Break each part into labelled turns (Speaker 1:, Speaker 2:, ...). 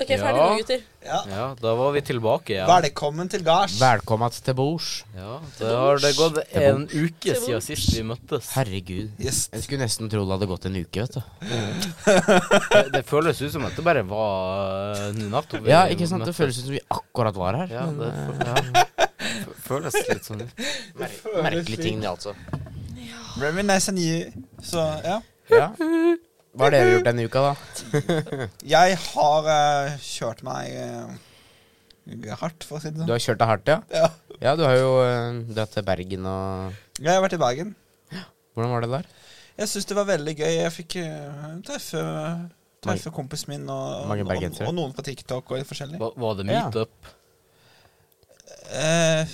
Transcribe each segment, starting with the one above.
Speaker 1: Ok, ferdig nå,
Speaker 2: Ja.
Speaker 1: gutter.
Speaker 3: Ja.
Speaker 2: Ja, da var vi tilbake igjen.
Speaker 3: Velkommen til gards.
Speaker 4: Velkommen til bords.
Speaker 2: Ja, det har det gått en uke siden sist vi møttes.
Speaker 4: Herregud.
Speaker 3: Yes.
Speaker 4: Jeg skulle nesten tro det hadde gått en uke, vet du.
Speaker 2: Det, det føles ut som at det bare var eh, nå nettopp. vi
Speaker 4: Ja, ikke sant? Det
Speaker 2: møttes.
Speaker 4: føles ut som vi akkurat var her.
Speaker 2: Ja,
Speaker 4: men,
Speaker 2: det
Speaker 4: eh,
Speaker 2: F- Føles litt sånn ut.
Speaker 4: ja, merkelige ting, det, altså.
Speaker 3: Very nice and you. Så, ja.
Speaker 4: Ja. Hva har dere gjort denne uka, da?
Speaker 3: Jeg har eh, kjørt meg eh, hardt, for å si det
Speaker 4: Du
Speaker 3: sånn.
Speaker 4: har kjørt deg hardt, ja?
Speaker 3: Ja.
Speaker 4: Ja, du har jo eh, dratt til Bergen og
Speaker 3: Jeg har vært i Bergen.
Speaker 4: Hvordan var det der?
Speaker 3: Jeg syns det var veldig gøy. Jeg fikk uh, treffe, treffe kompisen min og,
Speaker 4: Mange
Speaker 3: og,
Speaker 4: bergensere.
Speaker 3: og noen på TikTok og litt forskjellig.
Speaker 2: Var, var det
Speaker 3: Ja.
Speaker 2: meetup?
Speaker 3: Eh,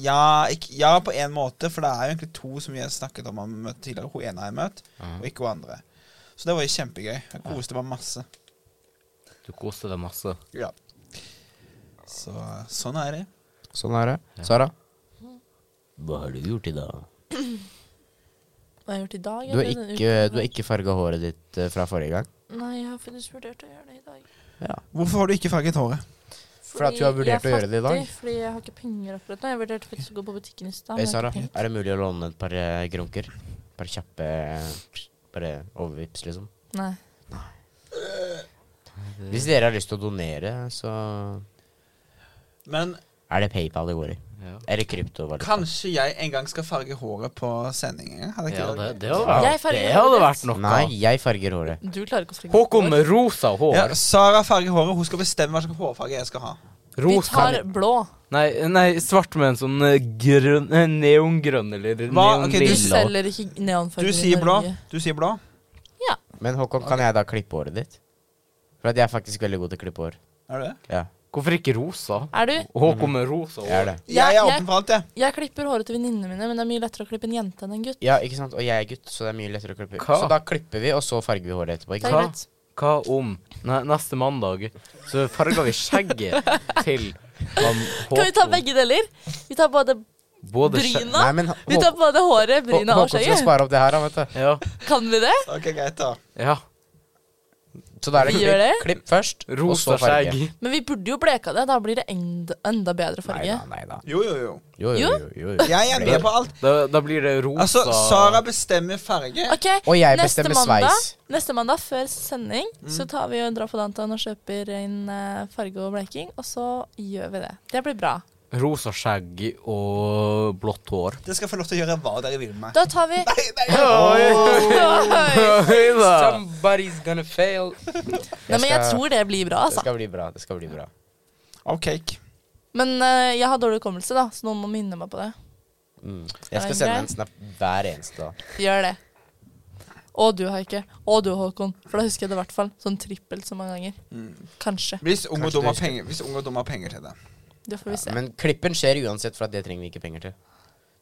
Speaker 3: ja, ikk- ja, på en måte, for det er jo egentlig to som vi har snakket om å møte tidligere. Hun ene har jeg møtt, og ikke hun andre. Så det var jo kjempegøy. Jeg koste meg masse.
Speaker 2: Du koste deg masse.
Speaker 3: Ja. Så sånn er det.
Speaker 4: Sånn er det. Sara,
Speaker 2: Hva har du gjort i dag?
Speaker 1: Hva har jeg gjort i dag?
Speaker 4: du har
Speaker 1: eller denne
Speaker 4: ikke,
Speaker 1: uken?
Speaker 4: du har ikke farga håret ditt eh, fra forrige gang.
Speaker 1: Nei, jeg har faktisk vurdert å gjøre det i dag.
Speaker 3: Hvorfor har du ikke farget håret?
Speaker 4: For at du har
Speaker 1: Fordi jeg
Speaker 4: vurdert
Speaker 1: er
Speaker 4: å gjøre det i dag?
Speaker 1: fattig, Fordi jeg har ikke penger akkurat nå. Jeg vurderte faktisk å gå på butikken i stad.
Speaker 4: Hei,
Speaker 1: men jeg har
Speaker 4: Sara.
Speaker 1: ikke penger.
Speaker 4: Er det mulig å låne et par eh, grunker? Bare kjappe eh, Bare overvips, liksom.
Speaker 1: Nei.
Speaker 4: Hvis dere har lyst til å donere, så
Speaker 3: Men
Speaker 4: er det PayPal det går i.
Speaker 2: Ja,
Speaker 4: Eller kryptovaluta.
Speaker 3: kanskje jeg en gang skal farge håret på sendingen? Hadde ikke
Speaker 2: ja det,
Speaker 3: det?
Speaker 2: det, hadde
Speaker 1: Jeg
Speaker 2: vært,
Speaker 1: farger
Speaker 2: det hadde
Speaker 1: håret.
Speaker 2: vært noe.
Speaker 4: Nei, jeg farger håret.
Speaker 1: Du klarer ikke å slikke
Speaker 2: Håkon med rosa
Speaker 3: Ja,
Speaker 2: hår.
Speaker 3: Sara farger håret. Hun skal bestemme hva slags hårfarge jeg skal ha.
Speaker 1: Vi
Speaker 2: Rosa
Speaker 1: tar blå.
Speaker 2: Nei, nei, svart med en sånn eh, grønn eh, Neongrønn eller
Speaker 3: Hva? Ok, du
Speaker 1: Du
Speaker 3: Lilla.
Speaker 2: neonlilla.
Speaker 1: selger ikke neonfarger
Speaker 3: Du
Speaker 1: i
Speaker 3: sier blå.
Speaker 1: Norge.
Speaker 3: Du sier blå.
Speaker 4: Men Håkon, kan jeg da klippe håret ditt? For at jeg er faktisk veldig god til å klippe hår.
Speaker 3: Er du det?
Speaker 4: Ja,
Speaker 2: Hvorfor ikke rosa?
Speaker 1: Er du?
Speaker 2: Håkon med rosa hår.
Speaker 4: jeg er det.
Speaker 3: Jeg
Speaker 1: Mm.
Speaker 3: er
Speaker 1: jeg-
Speaker 3: åpen for alt, jeg.
Speaker 1: Jeg klipper håret til venninnene mine, men det er mye lettere å klippe en jente enn en gutt.
Speaker 4: Ja, ikke sant? Og jeg er gutt, så det er mye lettere å klippe.
Speaker 2: Hva?
Speaker 4: Så da klipper vi, og så farger vi håret etterpå.
Speaker 1: Det
Speaker 4: Ikke
Speaker 1: er
Speaker 2: Hva?
Speaker 4: sant?
Speaker 1: greit.
Speaker 2: Hva om ne neste mandag så farger vi skjegget til han Håkon?
Speaker 1: Kan vi ta begge deler? Vi tar både
Speaker 2: Både skje-
Speaker 1: bryna.
Speaker 4: men Hå-
Speaker 1: Vi tar både håret,
Speaker 4: Hå-
Speaker 1: bryna og
Speaker 4: Håkon skal
Speaker 1: skjegget.
Speaker 4: spare opp det her, da, vet du.
Speaker 2: Ja.
Speaker 1: Kan vi det?
Speaker 3: Ok, greit da
Speaker 2: ja.
Speaker 4: Så da er det
Speaker 1: Vi gjør
Speaker 4: klipp, klipp først, og så
Speaker 2: Rosa
Speaker 4: farge.
Speaker 2: skjegg.
Speaker 1: Men vi burde jo bleka det. Da blir det enda, enda bedre
Speaker 4: Nei
Speaker 1: farge.
Speaker 4: da, nei da.
Speaker 3: Jo, jo, jo.
Speaker 4: Jo, jo,
Speaker 1: Jo.
Speaker 4: jo. jo, jo.
Speaker 3: Jeg er med på alt.
Speaker 2: Da, da blir det rosa
Speaker 3: Altså, Sara bestemmer farge.
Speaker 1: Ok,
Speaker 4: Og jeg
Speaker 1: neste
Speaker 4: bestemmer
Speaker 1: mandag,
Speaker 4: sveis.
Speaker 1: neste mandag før sending
Speaker 2: Mm.
Speaker 1: så tar vi og drar på Danton og kjøper inn eh, farge og bleking, og så gjør vi det. Det blir bra.
Speaker 2: Rosa skjegg og blått hår.
Speaker 3: Dere skal få lov til å gjøre hva dere vil med.
Speaker 1: Da tar vi
Speaker 3: Nei, nei,
Speaker 2: Oi,
Speaker 1: Nei,
Speaker 2: oi da.
Speaker 4: Somebody's gonna fail.
Speaker 1: men jeg tror det blir bra,
Speaker 4: Det
Speaker 1: altså.
Speaker 4: skal bli bra. det skal bli bra
Speaker 3: Og cake.
Speaker 1: Men eh, jeg har dårlig hukommelse, da, så noen må minne meg på det.
Speaker 4: mm. Jeg
Speaker 1: Er
Speaker 4: skal
Speaker 1: det
Speaker 4: sende
Speaker 1: grei?
Speaker 4: en snap hver eneste dag.
Speaker 1: Gjør det. Og du, Haike. Og du, Håkon. For da husker jeg det i hvert fall sånn trippelt så mange ganger.
Speaker 2: Mm.
Speaker 1: Kanskje.
Speaker 3: Hvis ung og dum
Speaker 4: Kanskje du
Speaker 3: har
Speaker 4: husker.
Speaker 3: penger, hvis ung og dum har penger til det.
Speaker 1: Det får vi se.
Speaker 4: Men klippen skjer uansett, for at det trenger vi ikke penger til.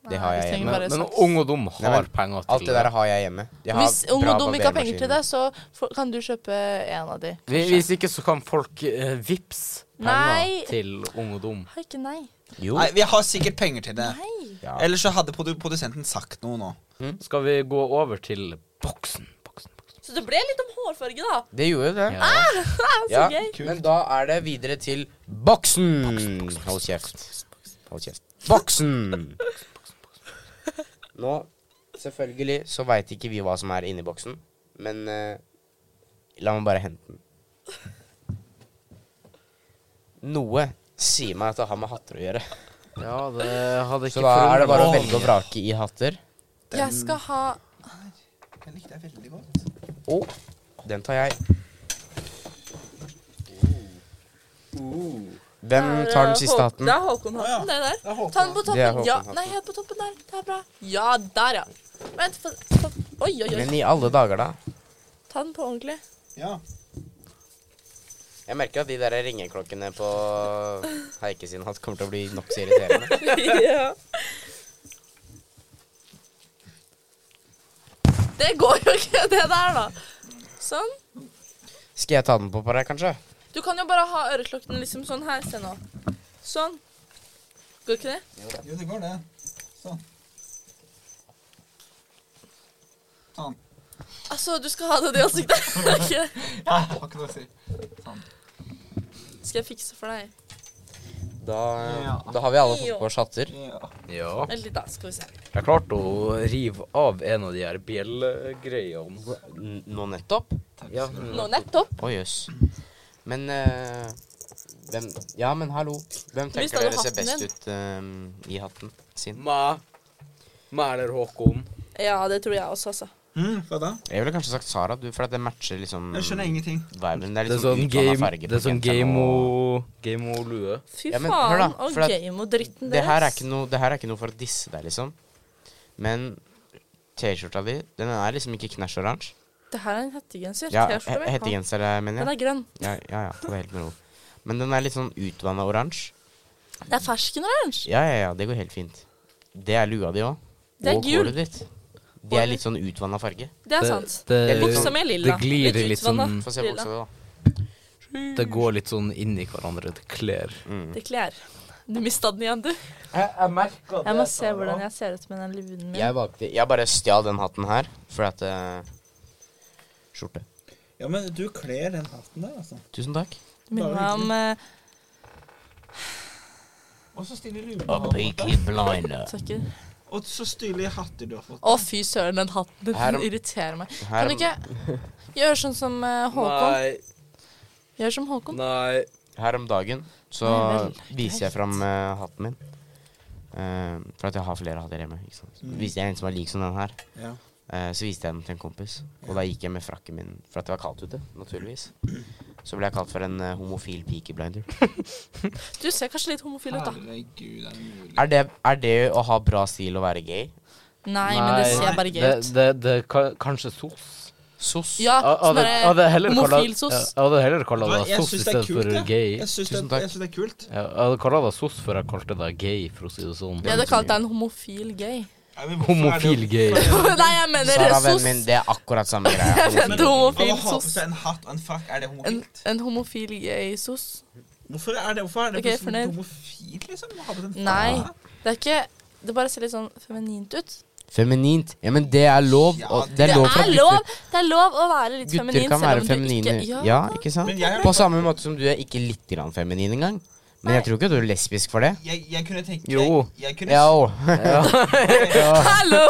Speaker 4: Det har
Speaker 1: Nei, vi
Speaker 4: jeg
Speaker 1: trenger
Speaker 4: hjemme.
Speaker 2: Men,
Speaker 1: bare
Speaker 2: men
Speaker 1: saks.
Speaker 2: ung og dum
Speaker 4: Nei,
Speaker 2: har
Speaker 4: men
Speaker 2: penger til
Speaker 4: Alt det der har jeg hjemme. Jeg har
Speaker 1: Hvis ung
Speaker 4: bra
Speaker 1: og dum ikke har penger
Speaker 4: barbermaskin.
Speaker 1: til det, så får- kan du kjøpe en av de.
Speaker 2: Vi- Hvis ikke så kan folk eh, vips
Speaker 1: Nei.
Speaker 2: penger til ung og dum.
Speaker 1: Haike, nei.
Speaker 4: Jo.
Speaker 3: Nei, vi har sikkert penger til det.
Speaker 1: Nei.
Speaker 4: Ja.
Speaker 3: Ellers så hadde produ produsenten sagt noe nå.
Speaker 2: Skal vi gå over til boksen? Boksen, boksen.
Speaker 1: Så det ble litt om hårfarge, da.
Speaker 4: Det gjorde jo det.
Speaker 2: Ja.
Speaker 1: Ah!
Speaker 4: Ja.
Speaker 1: gøy.
Speaker 4: Men da er det videre til boksen. Hold kjeft. Hold kjeft. Boksen! Nå, selvfølgelig, så veit ikke vi hva som er inni boksen, men eh, la meg bare hente den. Noe sier meg at det har med hatter å gjøre.
Speaker 2: Ja, det hadde ikke
Speaker 4: Så da er det bare å
Speaker 2: forundret meg.
Speaker 4: velge og vrake i hatter.
Speaker 1: Jeg skal ha
Speaker 3: Den likte jeg veldig godt.
Speaker 4: Og den tar jeg. Hvem tar den siste hatten?
Speaker 1: eh, Det er Håkon-hatten, det
Speaker 3: Det er
Speaker 1: der.
Speaker 3: Håkon.
Speaker 1: Ta den på
Speaker 4: Det er
Speaker 1: toppen. Ja,
Speaker 4: Håkon-hatten.
Speaker 1: nei, helt på toppen der. Det er bra. Ja, der, ja. Vent, få- få- Oi, oi,
Speaker 4: Men
Speaker 1: oi.
Speaker 4: i alle dager, da.
Speaker 1: Ta den på ordentlig.
Speaker 3: Ja.
Speaker 4: Jeg merker at de der ringeklokkene på Heike sin hatt kommer til å bli nokså irriterende.
Speaker 1: Ja. Det går jo ikke, det der, da. Sånn.
Speaker 4: Skal jeg ta den på på deg, kanskje?
Speaker 1: Du kan jo bare ha øreklokken liksom sånn her. Se nå. Sånn. Går ikke det?
Speaker 3: Jo, det går, det. Sånn. Sånn.
Speaker 1: Altså, du skal ha den i ansiktet. Ok.
Speaker 3: Ja, har ikke noe å si.
Speaker 1: Skal jeg fikse for deg?
Speaker 4: Da,
Speaker 3: Ja.
Speaker 4: da har vi alle fått på chatter.
Speaker 3: Ja.
Speaker 2: Ja.
Speaker 1: Eller da, skal vi se.
Speaker 2: Jeg klarte å rive av en av de her bjellegreiene.
Speaker 4: N- Nå nettopp? Ja,
Speaker 1: Nå nettopp.
Speaker 4: Å, jøss. Men eh, hvem Ja, men hallo. Hvem
Speaker 1: Hvis
Speaker 4: tenker
Speaker 1: det
Speaker 4: dere
Speaker 1: var
Speaker 4: ser best
Speaker 1: hatten
Speaker 4: ut eh, i hatten sin?
Speaker 2: Meg. Meg eller Håkon.
Speaker 1: Ja, det tror jeg også, altså.
Speaker 3: Mm, hva da?
Speaker 4: Jeg ville kanskje sagt Sara, du, for at det matcher liksom
Speaker 3: Jeg skjønner ingenting.
Speaker 4: viben. Det er
Speaker 2: Det er
Speaker 4: litt
Speaker 2: sånn
Speaker 4: sånn utvannet
Speaker 2: game
Speaker 4: farge.
Speaker 2: Det er sånn gameo... Gameo-lue.
Speaker 1: Fy
Speaker 4: Ja, men hør da,
Speaker 1: fagen, og
Speaker 4: for at
Speaker 1: game-og-dritten
Speaker 4: Det her, er ikke noe, det her er ikke noe for å disse deg, liksom. Men T-skjorta di, den er liksom ikke knæsj oransje.
Speaker 1: Det her er en hettegenser.
Speaker 4: Ja,
Speaker 1: T-skjorte
Speaker 4: he-
Speaker 1: med.
Speaker 4: hettegenser, mener
Speaker 1: Den
Speaker 4: jeg.
Speaker 1: er grønn.
Speaker 4: Ja, ja, ja, ta det helt med ro. Men den er litt sånn utvanna oransje.
Speaker 1: Det er fersken-oransje.
Speaker 4: Ja, ja, ja, det går helt fint. Det er lua di òg.
Speaker 1: Det er
Speaker 4: Og
Speaker 1: gul.
Speaker 4: håret ditt. De er litt sånn utvanna farge.
Speaker 1: Det er sant.
Speaker 4: Det er litt
Speaker 1: Buksa
Speaker 4: sånn-
Speaker 1: mi er lilla.
Speaker 2: det glir litt
Speaker 1: utvannet.
Speaker 2: sånn-
Speaker 4: Få se
Speaker 1: Lilla.
Speaker 4: buksa di, da.
Speaker 2: Det går litt sånn inn i hverandre. Det kler.
Speaker 3: Mm.
Speaker 1: Det kler. Du mista den igjen, du.
Speaker 2: Jeg, jeg merker
Speaker 1: Jeg må se hvordan jeg ser ut med den luen min.
Speaker 4: Jeg valgte Jeg bare stjal den hatten her, for at eh, Skjorte.
Speaker 3: Ja, men du kler den hatten der, altså.
Speaker 4: Tusen takk.
Speaker 1: Minner meg om eh,
Speaker 3: Og så stilig lue du
Speaker 4: A
Speaker 3: har på deg.
Speaker 4: peaky blinder.
Speaker 1: sokker.
Speaker 3: Og så stilig hatter du har fått.
Speaker 1: Å, fy søren, den hatten din
Speaker 4: Her-
Speaker 1: irriterer meg.
Speaker 4: Her-
Speaker 1: Kan du ikke gjøre sånn som eh, Håkon?
Speaker 2: Nei,
Speaker 1: Gjør som Håkon.
Speaker 2: nei.
Speaker 4: Her om dagen så
Speaker 1: Nei vel,
Speaker 4: viser jeg
Speaker 1: greit.
Speaker 4: fram eh, hatten min. Eh, for at jeg har flere hatter hjemme. Ikke sant? Så
Speaker 3: Mm.
Speaker 4: Viste jeg en som var lik som den her.
Speaker 3: Ja.
Speaker 4: Eh, så viste jeg den til en kompis, og da gikk jeg med frakken min for at det var kaldt ute. naturligvis. Så ble jeg kalt for en eh, homofil peaky-blinder.
Speaker 1: Du ser kanskje litt homofil ut, da.
Speaker 3: Herregud, er det mulig?
Speaker 4: Er, det- er det å ha bra stil å være gay?
Speaker 1: Nei, men det
Speaker 2: Nei.
Speaker 1: ser bare gøy
Speaker 2: Det,
Speaker 1: ut.
Speaker 2: det, det ka- kanskje sos.
Speaker 4: SOS.
Speaker 1: Ja,
Speaker 2: Jeg
Speaker 1: sånn
Speaker 2: hadde- jeg hadde heller
Speaker 1: derre
Speaker 2: kallet-
Speaker 1: homofil sos.
Speaker 2: Jeg hadde heller kalla
Speaker 3: Hva,
Speaker 2: deg
Speaker 3: Jeg
Speaker 2: sos i
Speaker 3: syns det er
Speaker 2: stedet
Speaker 3: kult,
Speaker 2: for
Speaker 3: jeg.
Speaker 2: gay.
Speaker 3: Jeg syns det,
Speaker 4: Tusen takk.
Speaker 3: jeg syns det er kult.
Speaker 2: Ja, Jeg hadde kalla deg sos før jeg kalte deg gay, for å si det sånn.
Speaker 1: Jeg hadde kalt deg en homofil gay.
Speaker 3: Ja, men hvorfor er det-
Speaker 2: Homofil gay.
Speaker 1: Nei, jeg mener
Speaker 4: Sara, vennen
Speaker 1: sos.
Speaker 4: min, det er akkurat samme greia.
Speaker 1: Jeg mente
Speaker 3: Av å
Speaker 1: homofil
Speaker 3: ha på
Speaker 1: sos.
Speaker 3: seg en hatt og en frakk, er det
Speaker 1: En,
Speaker 3: homofilt?
Speaker 1: en homofil gay sos.
Speaker 3: Hvorfor er det, hvorfor er det
Speaker 1: Ok,
Speaker 3: plutselig
Speaker 1: fornøyd.
Speaker 3: homofilt, liksom? Å ha på seg en
Speaker 1: Nei.
Speaker 3: frakk?
Speaker 1: Det er ikke Det bare ser litt sånn feminint ut.
Speaker 4: Feminint. Ja, men det er lov.
Speaker 3: Ja,
Speaker 4: Og det er lov for
Speaker 1: er
Speaker 4: gutter.
Speaker 1: lov, det er lov å være litt
Speaker 4: Gutter
Speaker 1: feminin,
Speaker 4: kan
Speaker 1: selv om
Speaker 4: være
Speaker 1: du
Speaker 4: feminine.
Speaker 1: ikke
Speaker 4: Ja, ikke sant?
Speaker 3: Men jeg er-
Speaker 4: På samme måte som du er ikke litt grann feminin engang. Men jeg tror ikke du er lesbisk for det.
Speaker 3: Jeg, jeg kunne tenke
Speaker 2: Jo.
Speaker 3: Jeg, jeg, kunne,
Speaker 4: Ja, og-
Speaker 1: Hallo!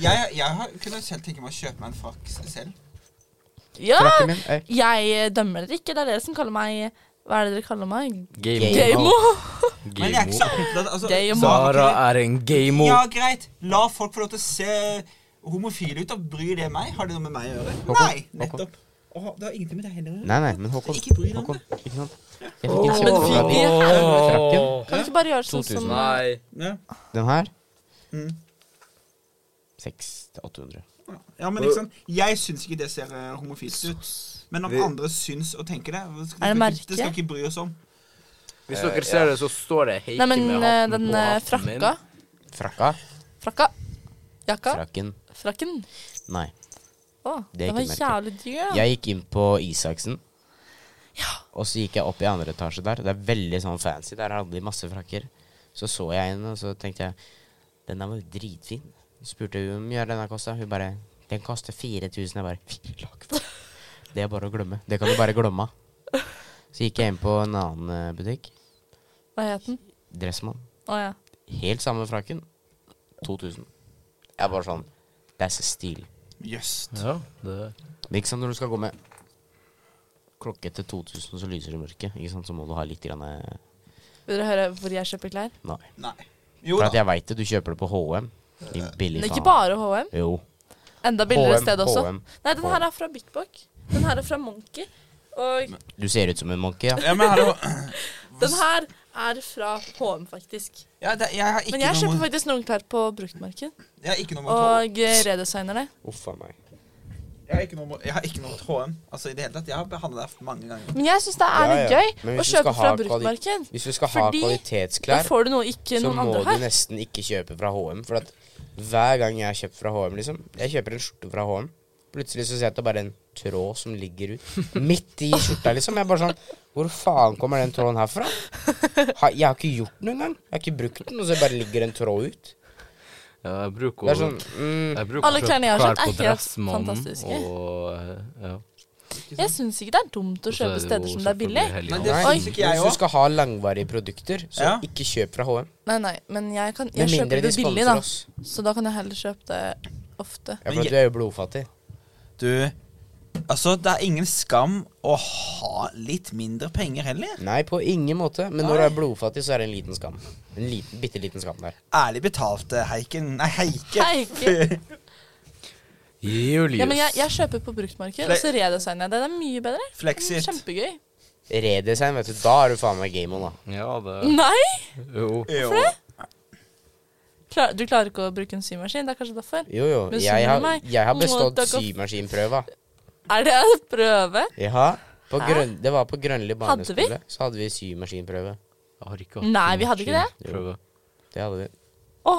Speaker 3: jeg, jeg har- kunne selv tenke meg å kjøpe meg en frakk selv.
Speaker 1: Ja!
Speaker 4: frakken min. eh,
Speaker 1: Jeg dømmer dere ikke. Det er dere som kaller meg Hva er det dere kaller meg?
Speaker 4: Gay.
Speaker 2: Game.
Speaker 1: Gamo?
Speaker 3: Men jeg er ikke så opptatt altså,
Speaker 1: Gay og
Speaker 3: Sara,
Speaker 2: Sara
Speaker 3: ok,
Speaker 2: er en gamo.
Speaker 3: Ja, greit. La folk få lov til å se homofile ut. da Bryr det meg? Har det noe med meg å gjøre?
Speaker 4: Håkon,
Speaker 3: Nei, nettopp. Åh, det har ingenting med deg heller å gjøre.
Speaker 4: Nei, nei, men Håkon.
Speaker 3: Ikke bry deg om
Speaker 4: Håkon, ikke sant? Jeg fikk
Speaker 2: Åh.
Speaker 4: en
Speaker 1: Men fy-
Speaker 4: kjempebra Frakken.
Speaker 1: Kan vi ikke bare gjøre sånn som
Speaker 4: 2000.
Speaker 2: Nei.
Speaker 3: Ja.
Speaker 4: Den her.
Speaker 3: Mm.
Speaker 4: 600-800.
Speaker 3: ja, men ikke sant Jeg syns ikke det ser eh, homofilt ut. Men om andre syns og tenker det det
Speaker 1: Er
Speaker 3: skal
Speaker 1: det
Speaker 3: vi ikke-
Speaker 1: merke?
Speaker 3: Det skal vi ikke bry oss om.
Speaker 2: Hvis dere ser det, så står det
Speaker 1: Nei,
Speaker 2: Heike
Speaker 1: men
Speaker 2: med
Speaker 1: eh,
Speaker 2: hatten
Speaker 1: den
Speaker 2: på
Speaker 1: eh,
Speaker 2: hatten min.
Speaker 1: frakka
Speaker 4: Frakka.
Speaker 1: Frakka. Jakka.
Speaker 4: Frakken.
Speaker 1: Frakken.
Speaker 4: Nei.
Speaker 1: Å,
Speaker 4: Det er
Speaker 1: den var
Speaker 4: ikke merket.
Speaker 1: jævlig dyr. Ja.
Speaker 4: Jeg gikk inn på Isaksen. Og så gikk jeg opp i andre etasje der. Det er veldig sånn fancy. Der hadde de masse frakker. Så så jeg en, og så tenkte jeg Den der var jo dritfin. Så spurte hun hvor mye den der kosta. Hun bare Den koster 4000. Jeg bare «Fy, lakk, da». Det er bare å glemme. Det kan du bare glemme. av. Så gikk jeg inn på en annen eh, butikk.
Speaker 1: Hva het den?
Speaker 4: Dressmann.
Speaker 1: Å ja.
Speaker 4: Helt samme frakken. 2000. Jeg er bare sånn That's a steal.
Speaker 3: Jøss.
Speaker 2: Ja, det
Speaker 4: Det er ikke sant når du skal gå med klokke til 2000, så lyser det i mørket. Ikke sant? Så må du ha litt grann eh,
Speaker 1: Vil dere høre hvor jeg kjøper klær?
Speaker 4: Nei.
Speaker 3: Nei. Jo
Speaker 4: For
Speaker 3: da.
Speaker 4: at jeg veit det. Du kjøper det på HM. Din
Speaker 1: Det
Speaker 4: billige
Speaker 1: er ikke
Speaker 4: faen.
Speaker 1: bare HM.
Speaker 4: Jo.
Speaker 1: Enda billigere
Speaker 4: HM,
Speaker 1: sted også.
Speaker 4: HM.
Speaker 1: Nei, den her er fra Bik Bok. Den her er fra Monkey. Og
Speaker 4: Du ser ut som en monkey, ja.
Speaker 3: Ja, men hallo.
Speaker 1: den her er fra HM, faktisk.
Speaker 3: Ja, det, jeg har ikke
Speaker 1: Men jeg
Speaker 3: noe
Speaker 1: kjøper
Speaker 3: mot-
Speaker 1: faktisk noen klær på bruktmarked.
Speaker 3: Jeg har ikke noe mot HM.
Speaker 1: Og eh, redesigner det.
Speaker 4: Uff a meg.
Speaker 3: Jeg har ikke noe mot- jeg har ikke noe mot HM. Altså, i det hele tatt. Jeg har behandlet deg mange ganger.
Speaker 1: Men jeg syns det er
Speaker 4: Ja,
Speaker 1: litt
Speaker 4: ja. Men
Speaker 1: gøy å
Speaker 4: hvis du skal
Speaker 1: kjøpe fra
Speaker 4: ha kvali-
Speaker 1: bruktmarked.
Speaker 4: Hvis du skal ha
Speaker 1: Fordi Da
Speaker 4: kvalitetsklær,
Speaker 1: får du noe ikke
Speaker 4: så
Speaker 1: noen
Speaker 4: må
Speaker 1: andre
Speaker 4: du
Speaker 1: har.
Speaker 4: nesten ikke kjøpe fra HM. For at hver gang jeg har kjøpt fra HM, liksom Jeg kjøper en skjorte fra HM. Plutselig så ser jeg at det er bare en tråd som ligger ut midt i skjorta, liksom. Jeg er bare sånn Hvor faen kommer den tråden herfra? Ha, jeg har ikke gjort noe engang. Jeg har ikke brukt den, og så bare ligger en tråd ut.
Speaker 2: Ja, jeg bruker å
Speaker 4: Det er sånn mm,
Speaker 2: jeg bruker
Speaker 1: Alle
Speaker 2: å kjøpe
Speaker 1: klærne jeg har
Speaker 2: klær
Speaker 1: kjøpt er
Speaker 2: på
Speaker 1: helt
Speaker 2: Dressmannen,
Speaker 1: fantastiske.
Speaker 2: Og, eh, ja.
Speaker 1: Jeg syns ikke det er dumt å
Speaker 2: Og så er
Speaker 1: kjøpe
Speaker 2: det jo
Speaker 1: steder som det er billig.
Speaker 2: selvfølgelig hellig
Speaker 3: Nei,
Speaker 2: handel.
Speaker 3: det
Speaker 4: Nei,
Speaker 1: Oi.
Speaker 3: syns ikke jeg
Speaker 4: hvis du
Speaker 3: òg.
Speaker 4: skal ha langvarige produkter, så
Speaker 3: Ja.
Speaker 4: ikke kjøp fra HM.
Speaker 1: Nei, nei, men jeg, kan, jeg
Speaker 4: Med
Speaker 1: kjøper
Speaker 4: mindre de
Speaker 1: det billig, da.
Speaker 4: sponser oss.
Speaker 1: Så da kan jeg heller kjøpe det ofte.
Speaker 4: Ja, for du er jo blodfattig.
Speaker 3: Du, altså, det er ingen skam å ha litt mindre penger heller.
Speaker 4: Nei, på ingen måte. Men når du er blodfattig, så er det en liten skam. En liten, bitte liten skam der.
Speaker 3: Ærlig betalt, eh, Heiken. Nei, Heike.
Speaker 1: Heike.
Speaker 2: Julius.
Speaker 1: Ja, men jeg, jeg kjøper på bruktmarked, og så redesigner jeg det. Det er mye bedre. Mm,
Speaker 3: Flexit.
Speaker 1: Kjempegøy.
Speaker 4: Redesign, vet du. Da er du faen meg game on, da.
Speaker 2: Ja, det
Speaker 1: Nei!
Speaker 2: Jo.
Speaker 3: Jo.
Speaker 1: Klar, du klarer ikke å bruke en symaskin. Det er kanskje derfor.
Speaker 4: Jo, jo.
Speaker 1: Men
Speaker 4: Jeg
Speaker 1: skjønner du
Speaker 4: har,
Speaker 1: meg?
Speaker 4: jeg har bestått
Speaker 1: Må dere-
Speaker 4: symaskinprøva.
Speaker 1: Er det en prøve?
Speaker 4: Ja. På
Speaker 1: Hæ?
Speaker 4: grønn, det var på Grønli
Speaker 1: Hadde vi?
Speaker 4: barneskole. Så hadde vi symaskinprøve.
Speaker 2: Jeg har ikke
Speaker 1: Nei, vi hadde ikke det.
Speaker 2: Prøve.
Speaker 4: Det hadde vi.
Speaker 1: Å,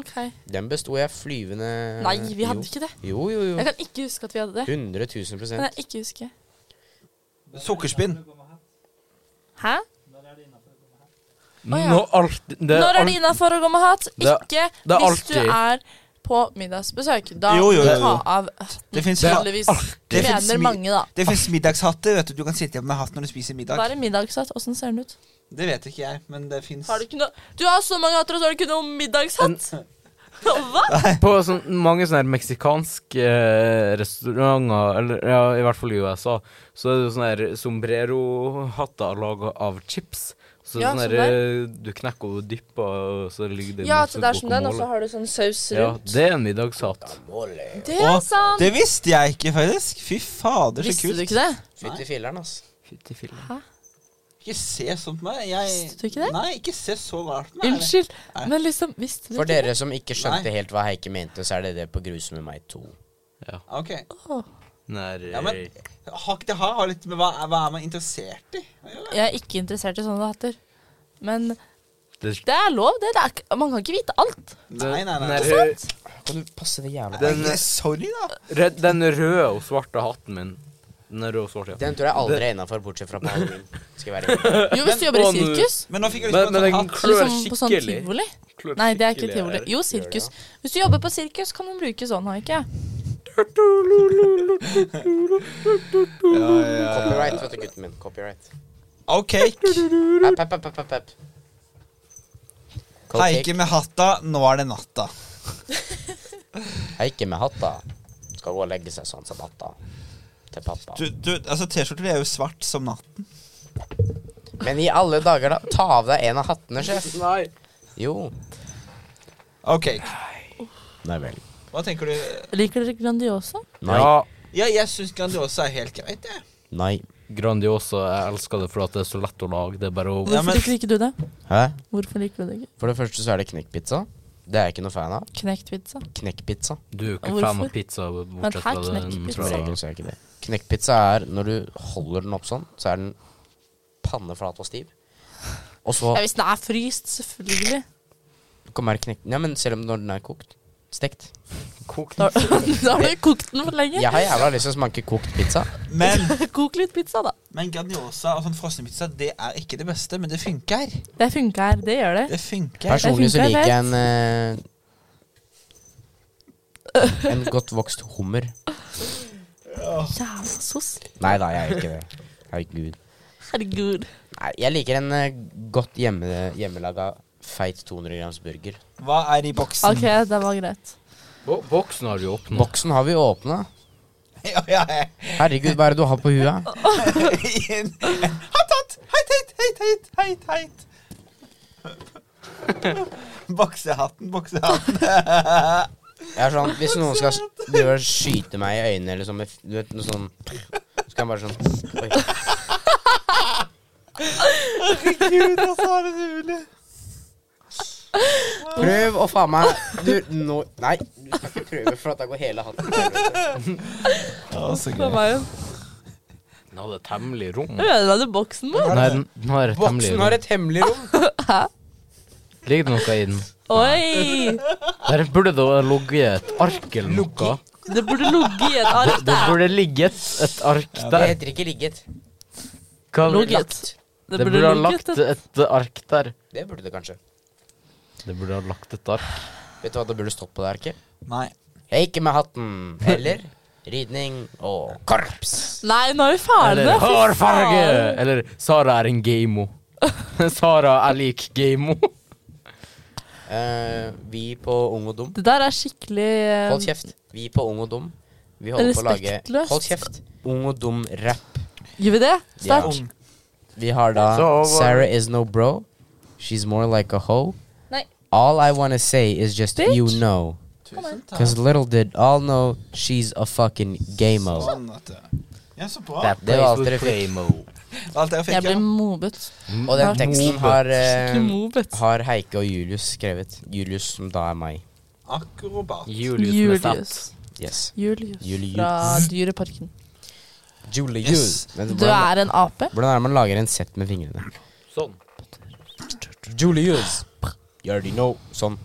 Speaker 1: OK.
Speaker 4: Den besto jeg flyvende
Speaker 1: Nei,
Speaker 2: Eh,
Speaker 1: vi hadde
Speaker 4: jo.
Speaker 1: ikke det.
Speaker 4: Jo, jo, jo.
Speaker 1: Jeg kan ikke huske at vi hadde det.
Speaker 4: 100 000
Speaker 1: Kan
Speaker 4: prosent.
Speaker 1: jeg ikke huske.
Speaker 3: Sukkerspinn.
Speaker 1: Hæ? Å, ja.
Speaker 2: Nå alt, det, er
Speaker 1: Når er
Speaker 2: alt-
Speaker 1: det innafor å gå med hatt?
Speaker 2: Det er-
Speaker 1: Ikke
Speaker 2: det er
Speaker 1: hvis du
Speaker 2: alltid-
Speaker 1: er på middagsbesøk. Da
Speaker 3: Jo,
Speaker 1: må
Speaker 3: jo, jo,
Speaker 1: du ta
Speaker 3: jo.
Speaker 1: av
Speaker 3: Det fins
Speaker 2: Det er
Speaker 1: Vanligvis
Speaker 3: Det finnes
Speaker 1: trener
Speaker 3: mye-
Speaker 1: mange, da.
Speaker 3: middagshatter. vet Du Du kan sitte igjen med hatt når du spiser middag.
Speaker 1: Da er det middagshatt. Åssen ser den ut?
Speaker 3: Det vet ikke jeg, men det fins.
Speaker 1: Har du ikke noe Du har så mange hatter, og så har du ikke noe middagshatt! Hva?
Speaker 2: På sånn, mange sånne her meksikanske eh, restauranter, eller ja, i hvert fall i USA, så er det jo sånne her sombrero-hatter laga av chips. Så
Speaker 1: Ja,
Speaker 2: sånn her,
Speaker 1: sånn
Speaker 2: eh, du knekker og dypper, og så ligger det
Speaker 1: Ja, så
Speaker 2: masse
Speaker 1: det er som den, og så
Speaker 2: guacamole.
Speaker 1: har du sånn saus
Speaker 2: Ja,
Speaker 1: rundt.
Speaker 2: det er en middagshatt.
Speaker 4: Måle.
Speaker 1: Det er
Speaker 3: Å,
Speaker 1: sant!
Speaker 3: Det visste jeg ikke, faktisk. Fy fader, så
Speaker 1: Visste
Speaker 3: kult.
Speaker 1: du ikke det?
Speaker 4: Fytti filleren, ass.
Speaker 2: Fytti fillen.
Speaker 3: Ikke se sånn på meg. Jeg...
Speaker 1: Visste du ikke det?
Speaker 3: Nei, ikke se så rart på meg.
Speaker 1: Unnskyld,
Speaker 3: Nei.
Speaker 1: men liksom Visste du
Speaker 4: For
Speaker 1: ikke det?
Speaker 4: dere som ikke skjønte helt hva Heike mente, så er det det på Grus med meg 2.
Speaker 3: Ok.
Speaker 2: Nær,
Speaker 3: Ja, men har ikke det har har litt med hva, hva er man interessert i? Eller?
Speaker 1: Jeg er ikke interessert i sånne hatter. Men
Speaker 2: det,
Speaker 1: det er lov, det. det er, ikke- man kan ikke vite alt.
Speaker 3: Nei, nei, nei.
Speaker 2: nær,
Speaker 4: Kan du passe det jævla
Speaker 2: Den-
Speaker 3: Nei, sorry, da.
Speaker 2: rød, den røde og svarte hatten min. Den røde og svarte, ja.
Speaker 4: Den tror jeg aldri er innafor, bortsett fra på halloween. Skal jeg være helt
Speaker 1: Jo, hvis du jobber
Speaker 2: å,
Speaker 1: i
Speaker 2: nå-
Speaker 1: sirkus.
Speaker 3: Men nå fikk jeg
Speaker 2: Men, men
Speaker 3: lyst på en
Speaker 2: den
Speaker 3: sånn hatt.
Speaker 1: Eller
Speaker 2: klør
Speaker 1: sånn, på sånn
Speaker 2: skikkelig.
Speaker 1: tivoli.
Speaker 2: Klør
Speaker 1: Nei, det er ikke
Speaker 2: skikkelig
Speaker 1: tivoli.
Speaker 2: her.
Speaker 1: Jo, sirkus. Hvis du jobber på sirkus, kan du bruke sånn, har ikke jeg.
Speaker 4: Copyright, vet du, gutten min. Copyright.
Speaker 3: OK.
Speaker 4: App, app, app, app, app, app. Cold
Speaker 3: Heike
Speaker 4: cake.
Speaker 3: med hatta, nå er det natta.
Speaker 4: Heike med hatta. Skal gå og legge seg sånn som hatta. Til pappa.
Speaker 3: Du, du, altså T-skjorter de er jo svart som natten.
Speaker 4: Men i alle dager, da. Ta av deg en av hattene, sjef.
Speaker 2: Nei.
Speaker 4: Jo.
Speaker 3: OK.
Speaker 4: Nei vel.
Speaker 3: Hva tenker du?
Speaker 1: Liker dere Grandiosa?
Speaker 4: Nei.
Speaker 2: Ja,
Speaker 3: Ja, jeg syns Grandiosa er helt greit, jeg.
Speaker 4: Nei.
Speaker 2: Grandiosa, jeg elsker det fordi at det er så lett å lage. Det er bare å
Speaker 3: Ja,
Speaker 1: Hvorfor
Speaker 3: men-
Speaker 1: liker ikke du det?
Speaker 4: Hæ?
Speaker 1: Hvorfor liker du det ikke?
Speaker 4: For det første så er det knekkpizza. Det er jeg ikke noe fan av.
Speaker 1: Knekt pizza.
Speaker 4: Knekkpizza.
Speaker 2: Du er jo ikke
Speaker 1: Hvorfor?
Speaker 2: fan av pizza. Bortsett fra
Speaker 1: her knekker
Speaker 2: den
Speaker 1: pizza.
Speaker 4: Som
Speaker 2: fra
Speaker 4: regel så er jeg ikke det. Knekkpizza er når du holder den opp sånn, så er den panneflat og stiv. Og så
Speaker 1: Ja, hvis den er fryst, selvfølgelig.
Speaker 4: kommer det knekk... Nei, men selv om når den er kokt. Stekt.
Speaker 2: kokt.
Speaker 1: Da, da har du kokt den for lenge.
Speaker 4: Jeg har jævla lyst til å smake kokt pizza.
Speaker 3: Men,
Speaker 1: Kok litt pizza, da.
Speaker 3: men Grandiosa og sånn frossenpizza, det er ikke det beste, men det funker.
Speaker 1: Det funker her. Det gjør det.
Speaker 3: Det funker.
Speaker 4: Personlig så
Speaker 1: funker,
Speaker 4: liker
Speaker 1: jeg
Speaker 4: jeg en eh, En godt vokst hummer.
Speaker 1: Jævla sos.
Speaker 4: Nei da, jeg gjør ikke det. Herregud.
Speaker 1: Herregud.
Speaker 4: Nei, jeg liker en eh, godt hjemme, hjemmelaga feit 200 grams burger.
Speaker 3: Hva er i boksen?
Speaker 1: OK, det var greit.
Speaker 2: Bo boksen har du åpna.
Speaker 4: Boksen har vi åpna.
Speaker 3: ja, ja, ja.
Speaker 4: Herregud, hva er det du har på huet?
Speaker 3: En- en- Hatt, hatt! Heit, heit, heit, heit, heit, heit. Boksehatten, boksehatten.
Speaker 4: Jeg er sånn, Hvis noen skal s- drive og skyte meg i øynene eller sånn med f- du vet, noe sånn Så kan jeg bare sånn Oi.
Speaker 3: Gud, altså, er det mulig?
Speaker 4: Prøv å faen meg Du, nå Nei, du skal ikke prøve, for at da går hele hatten. til helvete.
Speaker 3: Å, så
Speaker 1: Det var jo
Speaker 2: Den hadde et hemmelig rom.
Speaker 1: Ødela du boksen vår?
Speaker 2: Nei, den den har et hemmelig
Speaker 4: Boksen har
Speaker 2: rom.
Speaker 4: et hemmelig rom.
Speaker 2: Ligger det noe i den?
Speaker 1: Oi!
Speaker 2: Der burde det ha ligget et ark eller noe.
Speaker 1: Det burde ligget i et ark
Speaker 2: Det
Speaker 1: der.
Speaker 2: burde ligget et ark
Speaker 4: Det
Speaker 2: der.
Speaker 4: heter ikke ligget.
Speaker 2: Hva-
Speaker 1: Ligget.
Speaker 2: Det burde ha lagt
Speaker 1: et-
Speaker 2: et ark der.
Speaker 4: Det burde det kanskje.
Speaker 2: Det burde ha lagt et ark.
Speaker 4: Vet du hva det burde stått på der, ikke?
Speaker 3: Nei.
Speaker 4: Ikke med hatten. Eller ridning og korps.
Speaker 1: Nei, nå er vi ferdige.
Speaker 2: Eller
Speaker 1: Fy
Speaker 2: hårfarge!
Speaker 1: faen.
Speaker 2: Eller Sara er en gamo. Sara er lik gamo.
Speaker 4: Eh, vi på Ung og Dum
Speaker 1: Det der er skikkelig eh,
Speaker 4: Hold kjeft. Vi på Ung og Dum Vi holder på å lage
Speaker 1: Respektløst.
Speaker 4: Hold kjeft. Ung og Dum-rapp.
Speaker 1: Gjør vi det? Sterkt.
Speaker 3: Ung.
Speaker 4: Vi har da
Speaker 2: Så-
Speaker 4: Sarah is no bro. She's more like a hoe.
Speaker 1: Nei.
Speaker 4: All I wanna say is just
Speaker 1: Bitch. Ah.
Speaker 4: you know.
Speaker 3: Tusen takk.
Speaker 4: Cause little did all know she's a fucking gamo.
Speaker 3: Sånn, vet du. Ja, så bra.
Speaker 4: Det var alt dere fikk.
Speaker 3: Alt dere
Speaker 1: Jeg
Speaker 3: fikk, ja.
Speaker 1: blir mobbet.
Speaker 4: Og den teksten har, eh,
Speaker 1: Skikkelig mobbet.
Speaker 4: har Heike og Julius skrevet. Julius, som da er meg.
Speaker 3: Akrobat.
Speaker 2: Julius. med
Speaker 1: Julius.
Speaker 2: sats.
Speaker 4: Yes.
Speaker 1: Julius.
Speaker 4: Julius.
Speaker 1: Fra Dyreparken.
Speaker 4: Julius.
Speaker 3: Yes.
Speaker 4: Men
Speaker 1: Du
Speaker 4: Hvordan,
Speaker 1: er en ape.
Speaker 4: hvordan er det man lager en sett med fingrene?
Speaker 2: Sånn.
Speaker 4: Julius. You already know. Sånn.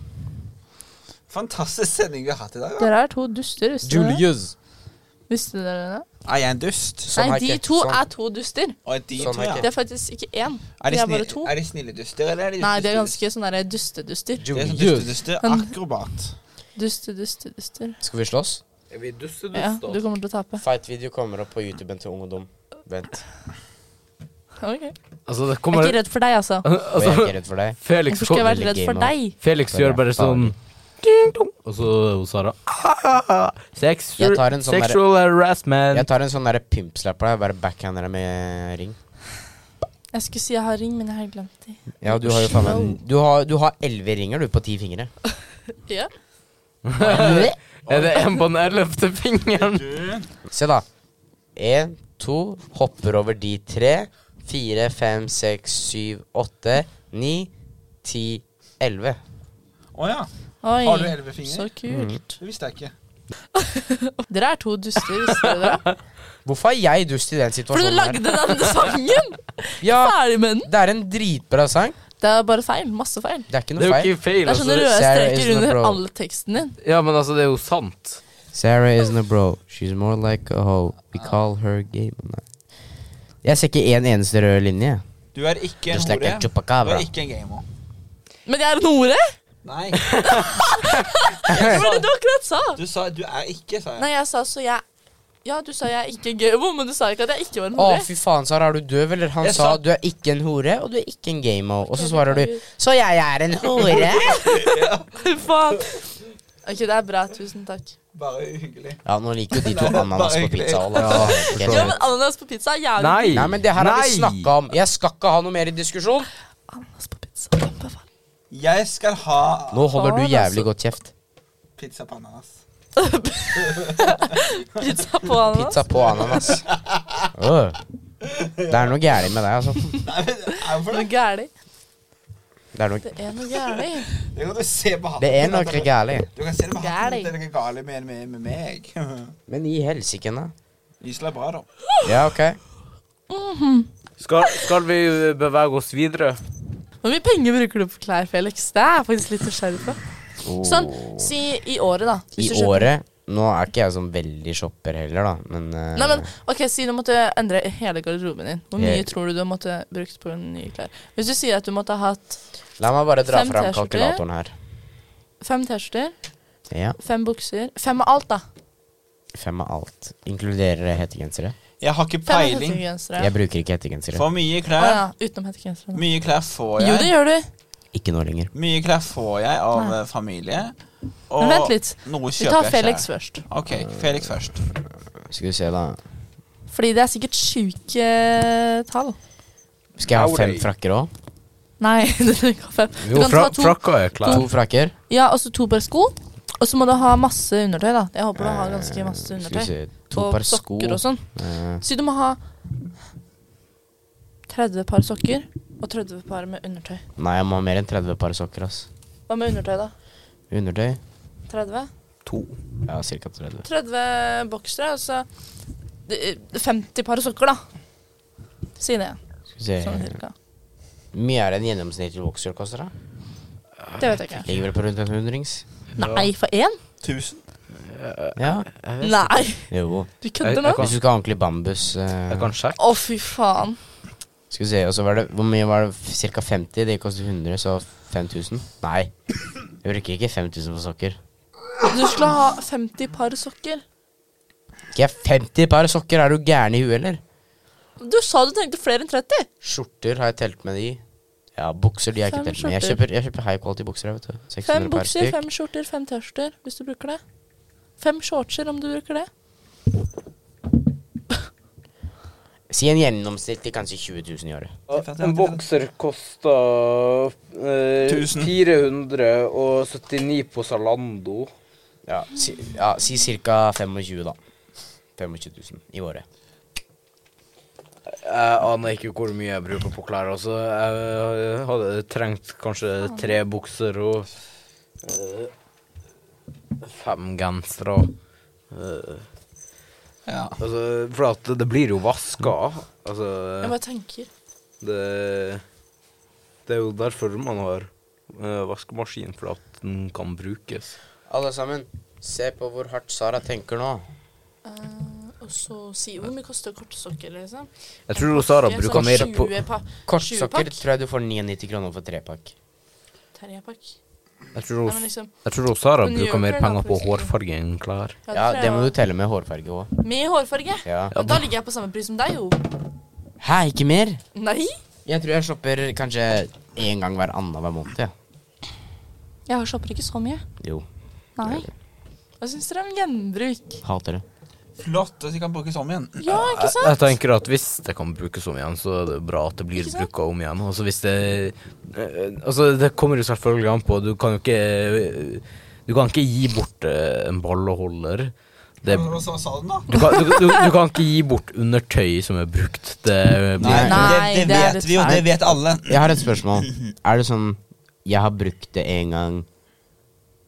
Speaker 3: Fantastisk sending vi har hatt i dag. da.
Speaker 1: Dere er to duster, visste dere det?
Speaker 4: Julius.
Speaker 1: Visste dere det?
Speaker 3: Er jeg en dust?
Speaker 4: Sånn
Speaker 1: Nei,
Speaker 4: har
Speaker 1: de
Speaker 4: ikke-
Speaker 1: to
Speaker 4: sånn.
Speaker 1: er to duster.
Speaker 3: Og er de
Speaker 4: Sånn
Speaker 3: to,
Speaker 4: er
Speaker 3: ja.
Speaker 1: Det er faktisk ikke én.
Speaker 3: Er de,
Speaker 1: de er
Speaker 3: snill-
Speaker 1: bare to.
Speaker 3: er de snille duster, eller er de
Speaker 1: Nei, de er
Speaker 3: dusteduster?
Speaker 1: ganske sånn derre dusteduster.
Speaker 3: Det er sånn
Speaker 4: Julius.
Speaker 3: dusteduster.
Speaker 1: Men-
Speaker 3: Akrobat.
Speaker 1: Duste, duste, duster.
Speaker 4: Skal vi slåss?
Speaker 2: Er vi
Speaker 1: Ja,
Speaker 2: dusteduster?
Speaker 1: du kommer til å tape.
Speaker 4: Fight-video kommer opp på YouTuben til Ung og Dum. Vent.
Speaker 1: Ok. Jeg
Speaker 2: altså, det
Speaker 1: er
Speaker 2: kommer
Speaker 1: ikke redd for deg, altså.
Speaker 4: Og jeg er
Speaker 2: altså,
Speaker 4: ikke redd for deg.
Speaker 2: Felix,
Speaker 1: Hvorfor skal jeg
Speaker 2: kom-
Speaker 1: være redd for deg?
Speaker 2: Felix gjør bare sånn ding, dong, Og så er hun Sara. Ah, sexual,
Speaker 4: Jeg tar en sånn der-
Speaker 2: sexual harassment.
Speaker 4: Jeg tar en sånn derre pimpslap på deg. Bare backhander deg med ring.
Speaker 1: Jeg skulle si jeg har ring, men jeg har glemt de.
Speaker 4: Ja, du har jo faen meg Du har- du har elleve ringer, du, på ti fingre.
Speaker 1: Ja.
Speaker 2: er det en på den ellevte fingeren?
Speaker 4: Se, da. Én, to. Hopper over de tre. Fire, fem, seks, syv, åtte, ni, ti, elleve.
Speaker 3: Å ja.
Speaker 1: Oi,
Speaker 3: Har du elleve
Speaker 1: så
Speaker 3: fingre?
Speaker 1: kult.
Speaker 3: Det visste jeg ikke.
Speaker 1: Dere er to duster, visste dere det?
Speaker 4: Hvorfor er jeg dust i den
Speaker 1: Fordi du
Speaker 4: situasjonen
Speaker 1: lagde denne sangen!
Speaker 4: Ja,
Speaker 1: Ferdig med den.
Speaker 4: det er en dritbra sang.
Speaker 1: Det er bare feil. Masse feil.
Speaker 4: Det er
Speaker 2: Det
Speaker 4: ikke noe
Speaker 2: er jo
Speaker 4: feil.
Speaker 2: ikke feil.
Speaker 1: Det er sånn sånne
Speaker 2: Altså.
Speaker 1: røde
Speaker 4: Sarah is
Speaker 1: streker
Speaker 4: not
Speaker 1: under
Speaker 4: bro.
Speaker 1: all teksten din.
Speaker 2: Ja, men altså, det er jo sant.
Speaker 4: Sarah isn't a bro. She's more like a hoe. We call her gay. Nei. Jeg ser ikke en eneste rød linje.
Speaker 3: Du er ikke en
Speaker 4: Just like
Speaker 3: hore.
Speaker 4: a
Speaker 3: Du
Speaker 4: chupacabra.
Speaker 3: er ikke en gamer.
Speaker 1: Men jeg er en hore!
Speaker 3: Nei.
Speaker 1: Det var det du akkurat sa!
Speaker 3: Du sa du er ikke, sa jeg.
Speaker 1: Nei, jeg sa så jeg Ja, du sa jeg er ikke gamo, men du sa ikke at jeg ikke var en
Speaker 4: Å,
Speaker 1: hore.
Speaker 4: fy faen, Sara, er du døv, eller? Han
Speaker 3: Jeg
Speaker 4: sa
Speaker 3: sa-
Speaker 4: du er ikke en hore, og du er ikke en gamo. Og så svarer du så jeg er en hore.
Speaker 1: Fy faen. Ok, det er bra. Tusen takk.
Speaker 3: Bare hyggelig.
Speaker 4: Ja, nå liker jo de to
Speaker 3: Nei,
Speaker 4: ananas
Speaker 3: bare
Speaker 4: på
Speaker 3: hyggelig.
Speaker 4: pizza. Ola.
Speaker 1: Ja, men ananas på pizza er jævlig
Speaker 2: Nei!
Speaker 4: Nei, men det her har vi
Speaker 2: Nei.
Speaker 4: snakka om. Jeg skal ikke ha noe mer i diskusjon.
Speaker 1: Ananas på pizza. anbefaler.
Speaker 3: Jeg skal ha
Speaker 4: Nå holder du
Speaker 1: Faen, altså.
Speaker 4: jævlig godt kjeft.
Speaker 3: pizza på ananas.
Speaker 1: Pizza på ananas.
Speaker 4: Pizza på ananas. Øh. Det er noe gærent med deg, altså.
Speaker 3: Nei, men er det for
Speaker 1: Noe
Speaker 3: det?
Speaker 1: gærlig.
Speaker 4: Det er noe,
Speaker 1: Det er noe gærlig.
Speaker 3: Det kan du se på
Speaker 4: det er
Speaker 3: hatten.
Speaker 4: noe gærent.
Speaker 3: Du kan se det på hatten.
Speaker 1: Gærlig.
Speaker 3: Det er noe galt med, med, med meg.
Speaker 4: Men i helsike, da.
Speaker 3: Isla er bra, da.
Speaker 4: Ja, ok.
Speaker 2: Skal, skal vi bevege oss videre?
Speaker 1: Hvor mye penger bruker du på klær, Felix? Det er jeg faktisk litt nysgjerrig på. Sånn, si i året, da.
Speaker 4: I
Speaker 1: Hvis du kjøper-
Speaker 4: året Nå er ikke jeg sånn veldig shopper heller, da, men, eh,
Speaker 1: Nei, men ok, Si du måtte endre hele garderoben din. Hvor mye
Speaker 4: Helt.
Speaker 1: tror du du måtte brukt på nye klær? Hvis du sier at du måtte ha hatt
Speaker 4: La meg bare dra
Speaker 1: fem
Speaker 4: fram
Speaker 1: T-skjorter.
Speaker 4: kalkulatoren her.
Speaker 1: fem T-skjorter,
Speaker 4: Ja,
Speaker 1: fem bukser Fem av alt, da.
Speaker 4: Fem av alt. Inkluderer det hettegensere?
Speaker 3: Jeg har ikke
Speaker 1: Fem av
Speaker 3: peiling.
Speaker 1: hettegensere.
Speaker 4: Jeg bruker ikke hettegensere.
Speaker 3: For mye
Speaker 1: Å
Speaker 3: klær.
Speaker 1: ja, utenom hettegensere. da.
Speaker 3: Mye klær får
Speaker 1: Jo, det
Speaker 3: jeg.
Speaker 1: gjør du.
Speaker 4: Ikke nå lenger.
Speaker 3: Mye klær får jeg av eh, familie. Og
Speaker 1: Men vent litt.
Speaker 3: noe
Speaker 1: Vi
Speaker 3: kjøper
Speaker 1: tar
Speaker 3: jeg
Speaker 1: Felix
Speaker 3: selv.
Speaker 1: først.
Speaker 3: OK, Felix først.
Speaker 4: Skal vi se, da.
Speaker 1: Fordi det er sikkert sjuke tall.
Speaker 4: Skal jeg ha fem frakker òg?
Speaker 1: Nei, du trenger ikke ha fem. Du
Speaker 2: Jo,
Speaker 1: kan
Speaker 2: fra,
Speaker 1: ta to,
Speaker 2: frakka er klar.
Speaker 4: To frakker?
Speaker 1: ja, og så to par sko. Og så må du ha masse undertøy, da. Jeg håper du har ganske masse
Speaker 4: Eh, Skal vi
Speaker 1: undertøy.
Speaker 4: se To
Speaker 1: og
Speaker 4: par sko.
Speaker 1: sokker og sånn.
Speaker 4: Eh,
Speaker 1: Så du må ha 30 par sokker og 30 par med undertøy.
Speaker 4: Nei, jeg må ha mer enn 30 par sokker, ass.
Speaker 1: Hva med undertøy, da?
Speaker 4: Undertøy?
Speaker 1: 30?
Speaker 4: To. Ja, cirka 30.
Speaker 1: 30 boksere, og så det- 50 par sokker, da. Si det.
Speaker 4: Skal vi se
Speaker 1: Sånn cirka.
Speaker 4: Mye er det en gjennomsnittlig vokser koster, da?
Speaker 2: Eh,
Speaker 1: Det vet jeg ikke.
Speaker 4: Ligger vel på rundt en hundrings?
Speaker 1: Nei, for én?
Speaker 3: 1000.
Speaker 4: Ja.
Speaker 1: Nei!
Speaker 4: Jo.
Speaker 1: Du
Speaker 2: Jeg-
Speaker 1: kødder
Speaker 2: jeg
Speaker 1: nå?
Speaker 2: kan-
Speaker 4: Hvis du skal ha ordentlig bambus eh,
Speaker 2: Jeg kan sjekke.
Speaker 1: Å, fy faen.
Speaker 4: Skal vi se, og så var det Hvor mye var det? Cirka 50? Det kostet 100, så 5000? Nei. Jeg bruker ikke 5000 på sokker.
Speaker 1: Du skulle ha 50 par sokker.
Speaker 4: Ikke 50 par sokker, er du gæren i huet, eller?
Speaker 1: Du sa du trengte flere enn 30.
Speaker 4: Skjorter har jeg telt med de. Ja, bukser de har jeg ikke
Speaker 1: Fem
Speaker 4: telt med. Jeg
Speaker 1: skjorter.
Speaker 4: kjøper, jeg kjøper high quality bukser, jeg, vet du. 600
Speaker 1: Fem
Speaker 4: per
Speaker 1: bukser,
Speaker 4: stykk.
Speaker 1: fem skjorter, fem T-skjorter hvis du bruker det. Fem shortser om du bruker det.
Speaker 4: Si en gjennomsnittlig kanskje 20 000 i året.
Speaker 2: En bokser koster eh,
Speaker 3: 1000.
Speaker 2: 479 på Zalando.
Speaker 4: Ja, si, ja, si ca. 25 000 da. 25 000 i året.
Speaker 2: Jeg aner ikke hvor mye jeg bruker på klær. Altså. Jeg hadde trengt kanskje tre bukser og eh, fem gensere. eh,
Speaker 3: Ja.
Speaker 2: altså, for at det blir jo vaska. Altså,
Speaker 1: Jeg bare tenker.
Speaker 2: det, det er jo derfor man har eh, vaskemaskin, for at den kan brukes.
Speaker 4: Alle sammen, se på hvor hardt Sara tenker nå.
Speaker 1: Eh, og så si hvor mye koster kortsokker, liksom.
Speaker 2: Jeg tror Sara
Speaker 1: Pakke,
Speaker 2: bruker
Speaker 1: sånn
Speaker 2: mer på
Speaker 1: 20 pa- 20
Speaker 4: Kortsokker
Speaker 1: pakk.
Speaker 4: tror jeg du får 99 kroner for trepakk.
Speaker 1: Terjepakk.
Speaker 2: Jeg tror,
Speaker 1: Nei,
Speaker 2: hun-
Speaker 1: men liksom,
Speaker 2: jeg tror Sara
Speaker 1: Hun
Speaker 2: bruker
Speaker 1: gjør
Speaker 2: mer
Speaker 1: vel
Speaker 2: penger på
Speaker 1: naturligvis ikke.
Speaker 2: hårfarge enn klær.
Speaker 1: ja,
Speaker 4: Ja,
Speaker 1: tror
Speaker 4: det
Speaker 1: jeg
Speaker 4: må du
Speaker 1: også.
Speaker 4: telle med hårfarge òg.
Speaker 1: Med hårfarge.
Speaker 4: Ja.
Speaker 1: Men da ligger jeg på samme pris som deg, jo.
Speaker 4: Hæ, ikke mer?
Speaker 1: Nei.
Speaker 4: Jeg tror jeg shopper kanskje én gang hver annenhver måned. Ja.
Speaker 1: Jeg shopper ikke så mye.
Speaker 4: Jo,
Speaker 1: Nei. Hva syns dere om gjenbruk?
Speaker 4: hater det.
Speaker 3: Flott at de kan brukes om igjen.
Speaker 1: Ja, ikke
Speaker 2: Jeg,
Speaker 1: sant?
Speaker 2: jeg tenker at hvis det kan brukes om igjen, så er det bra at det blir
Speaker 1: Ikke sant?
Speaker 2: bruka om igjen. Altså hvis det eh, Altså, det kommer jo selvfølgelig an på. Du kan jo ikke eh, Du kan ikke gi bort eh, en balleholder. Det,
Speaker 3: Hva sa- sa den, da?
Speaker 2: du, kan, du, du, du kan ikke gi bort undertøy som er brukt. Det blir
Speaker 1: Nei. Nei,
Speaker 3: det, det
Speaker 1: det er
Speaker 3: vet vi jo.
Speaker 1: rettferdig.
Speaker 3: Det vet alle.
Speaker 4: Jeg har et spørsmål. Er det sånn jeg har brukt det én gang,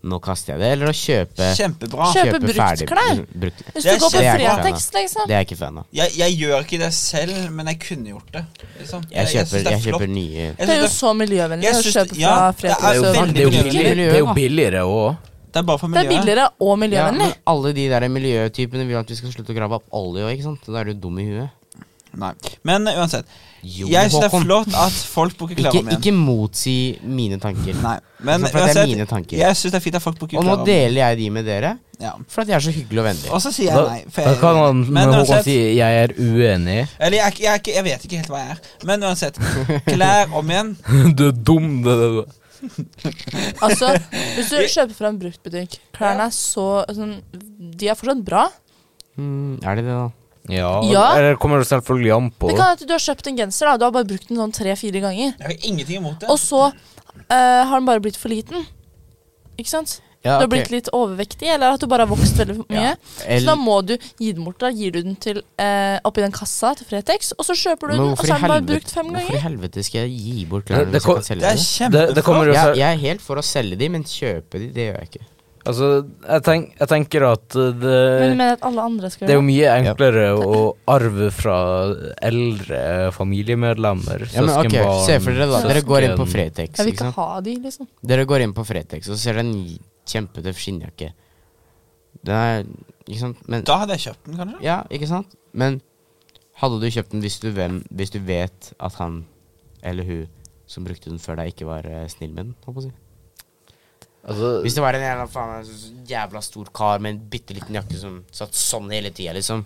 Speaker 4: nå kaster jeg det? Eller å kjøpe
Speaker 3: Kjempebra.
Speaker 1: Kjøp- Kjøpe brukt klær?
Speaker 4: Brukt.
Speaker 1: Hvis
Speaker 3: Det
Speaker 1: du
Speaker 3: er
Speaker 1: går på
Speaker 4: kjempe-
Speaker 1: Fretex, liksom.
Speaker 4: Det er jeg ikke fan av.
Speaker 3: Jeg, jeg gjør ikke det selv, men jeg kunne gjort det. Liksom.
Speaker 4: Jeg kjøper,
Speaker 3: synes det er
Speaker 4: jeg kjøper
Speaker 3: flott.
Speaker 4: nye
Speaker 3: Jeg
Speaker 1: Det er jo
Speaker 3: synes
Speaker 1: så miljøvennlig
Speaker 3: Jeg
Speaker 1: å
Speaker 3: synes det-
Speaker 1: kjøpe fra
Speaker 3: ja, det er
Speaker 1: Fretex.
Speaker 3: jo
Speaker 1: og-
Speaker 3: veldig
Speaker 2: Det er jo
Speaker 3: miljøvennlig.
Speaker 2: billig- det er jo billigere òg.
Speaker 3: det, det er bare for
Speaker 1: Det er
Speaker 3: miljøet.
Speaker 1: billigere og
Speaker 4: ja,
Speaker 1: miljøvennlig.
Speaker 4: men Alle de der miljøtypene vil at vi skal slutte å grave opp olje òg, ikke sant? Da er du dum i huet.
Speaker 3: Nei. Men uh, uansett.
Speaker 4: Jo,
Speaker 3: Jeg syns det er
Speaker 4: Håkon.
Speaker 3: flott at folk bruker klær
Speaker 4: Ikke,
Speaker 3: om igjen.
Speaker 4: ikke motsi mine tanker.
Speaker 3: Nei. Men
Speaker 4: Altså, for det er
Speaker 3: uansett,
Speaker 4: mine tanker.
Speaker 3: jeg syns det er fint at folk bruker
Speaker 4: Og nå
Speaker 3: klær om igjen.
Speaker 4: deler jeg de med dere,
Speaker 3: Ja.
Speaker 4: for at jeg er så hyggelig og vennlig.
Speaker 3: Og så sier
Speaker 2: Da,
Speaker 3: jeg nei. for
Speaker 2: da
Speaker 3: jeg-
Speaker 2: kan han
Speaker 3: men
Speaker 2: men Håkon
Speaker 3: uansett-
Speaker 2: si 'jeg er uenig'.
Speaker 3: Eller jeg, er ikke- jeg, er ikke- jeg vet ikke helt hva jeg er. Men uansett. Klær om igjen.
Speaker 2: Du er dum, det der.
Speaker 1: Altså, hvis du kjøper fra en bruktbutikk Klærne er så sånn, De er fortsatt bra.
Speaker 4: Mm, er det det, da?
Speaker 2: Ja,
Speaker 1: Ja.
Speaker 2: Eller kommer det selvfølgelig an på.
Speaker 1: Det kan være at du har kjøpt en genser, da. Du har bare brukt den sånn tre-fire ganger.
Speaker 3: Jeg har ingenting imot det.
Speaker 1: Og så eh, har den bare blitt for liten. Ikke sant?
Speaker 4: Ja,
Speaker 1: Du
Speaker 4: ok.
Speaker 1: har blitt litt overvektig, eller at du bare har vokst veldig mye.
Speaker 4: Ja. El-
Speaker 1: Så da må du gi den bort. Da gir du den til, eh, oppi den kassa til Fretex, og så kjøper du
Speaker 4: Men
Speaker 1: den, og
Speaker 4: hvorfor
Speaker 1: så har
Speaker 4: i
Speaker 1: den bare
Speaker 4: helvete,
Speaker 1: brukt fem
Speaker 4: hvorfor i
Speaker 1: ganger.
Speaker 4: helvete skal jeg gi bort
Speaker 2: Det-
Speaker 4: klærne
Speaker 2: det
Speaker 4: hvis jeg
Speaker 2: kom-
Speaker 4: kan selge
Speaker 3: det er
Speaker 4: dem?
Speaker 2: det,
Speaker 3: kjempeflott.
Speaker 2: det kommer jo
Speaker 4: Jeg,
Speaker 2: selv-
Speaker 4: jeg er helt for å selge de, men kjøpe de, det gjør jeg ikke.
Speaker 2: Altså, jeg, tenk, jeg tenker at uh, det,
Speaker 1: Men du mener at alle andre skal
Speaker 2: det er jo
Speaker 1: gjøre det?
Speaker 2: mye enklere å arve fra eldre familiemedlemmer.
Speaker 4: Ja, men ok,
Speaker 2: søskenbarn,
Speaker 4: Se for dere, da. Dere går inn på
Speaker 2: søsken.
Speaker 4: Fretex.
Speaker 1: Jeg vil
Speaker 4: Ikke
Speaker 1: ikke
Speaker 4: sant?
Speaker 1: ha de, liksom.
Speaker 4: Dere går inn på Fretex, og så ser dere en kjempetøff skinnjakke. Det er Ikke sant? Men
Speaker 3: Da hadde jeg kjøpt den, kanskje.
Speaker 4: Ja, ikke sant? Men hadde du kjøpt den hvis du, hvem, hvis du vet at han eller hun som brukte den før deg, ikke var eh, snill med den? Holdt på å si. Hvis
Speaker 2: Altså,
Speaker 4: det var en jævla, faen, meg så- så jævla stor kar med en bitte liten jakke som satt sånn hele tida, liksom.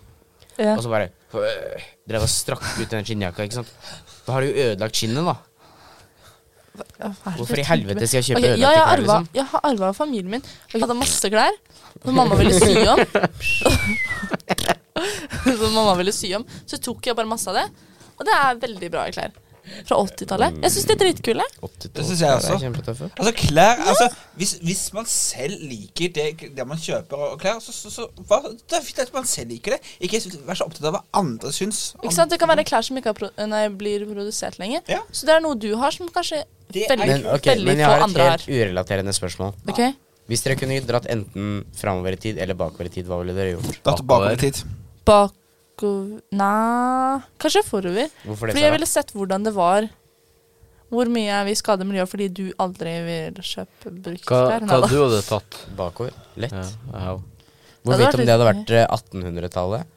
Speaker 1: Ja.
Speaker 4: Og så bare øh, Drev og strakk ut den skinnjakka, ikke sant. Da har du jo ødelagt skinnet, da.
Speaker 1: Ja, hva er det
Speaker 4: Hvorfor
Speaker 1: jeg
Speaker 4: i helvete
Speaker 1: tenker?
Speaker 4: skal jeg kjøpe
Speaker 1: Ok,
Speaker 4: ødelagte
Speaker 1: ja, jeg har
Speaker 4: klær,
Speaker 1: arva-
Speaker 4: liksom?
Speaker 1: Jeg har arva av familien min. Og jeg hadde masse klær som mamma ville sy om. som mamma ville sy om. Så tok jeg bare masse av det. Og det er veldig bra klær. Fra 80-tallet. Jeg syns de er dritkule.
Speaker 3: Det synes jeg også. Altså klær altså, hvis, hvis man selv liker det, det man kjøper og og klær, så, så, så hva, det er fint at man selv liker det. Ikke vær så opptatt av hva andre syns.
Speaker 1: Ikke sant? Det kan være klær som ikke har pro nei, blir produsert lenger.
Speaker 3: Ja.
Speaker 1: Så det er noe du har som kanskje
Speaker 3: Det er
Speaker 1: veldig,
Speaker 4: Men, ok,
Speaker 1: veldig
Speaker 4: men jeg
Speaker 1: få
Speaker 4: har et
Speaker 1: andre
Speaker 4: helt
Speaker 1: har.
Speaker 4: urelaterende spørsmål.
Speaker 1: Ok?
Speaker 4: Hvis dere kunne dratt enten framover i tid eller bakover i tid, hva ville dere gjort?
Speaker 3: Da tilbake i tid.
Speaker 1: Bakover Nei Kanskje forover.
Speaker 4: Hvorfor det?
Speaker 1: Fordi jeg
Speaker 4: Sara?
Speaker 1: ville sett hvordan det var. Hvor mye er vi skader miljøet fordi du aldri vil kjøpe brukt
Speaker 2: hva,
Speaker 1: klær?
Speaker 2: hva
Speaker 1: Nei da.
Speaker 2: du hadde tatt?
Speaker 4: Bakover. Lett.
Speaker 2: Ja, jeg-
Speaker 4: Hvor
Speaker 1: Det hadde vært
Speaker 4: vidt om det hadde
Speaker 1: litt
Speaker 4: vært eh, 1800-tallet?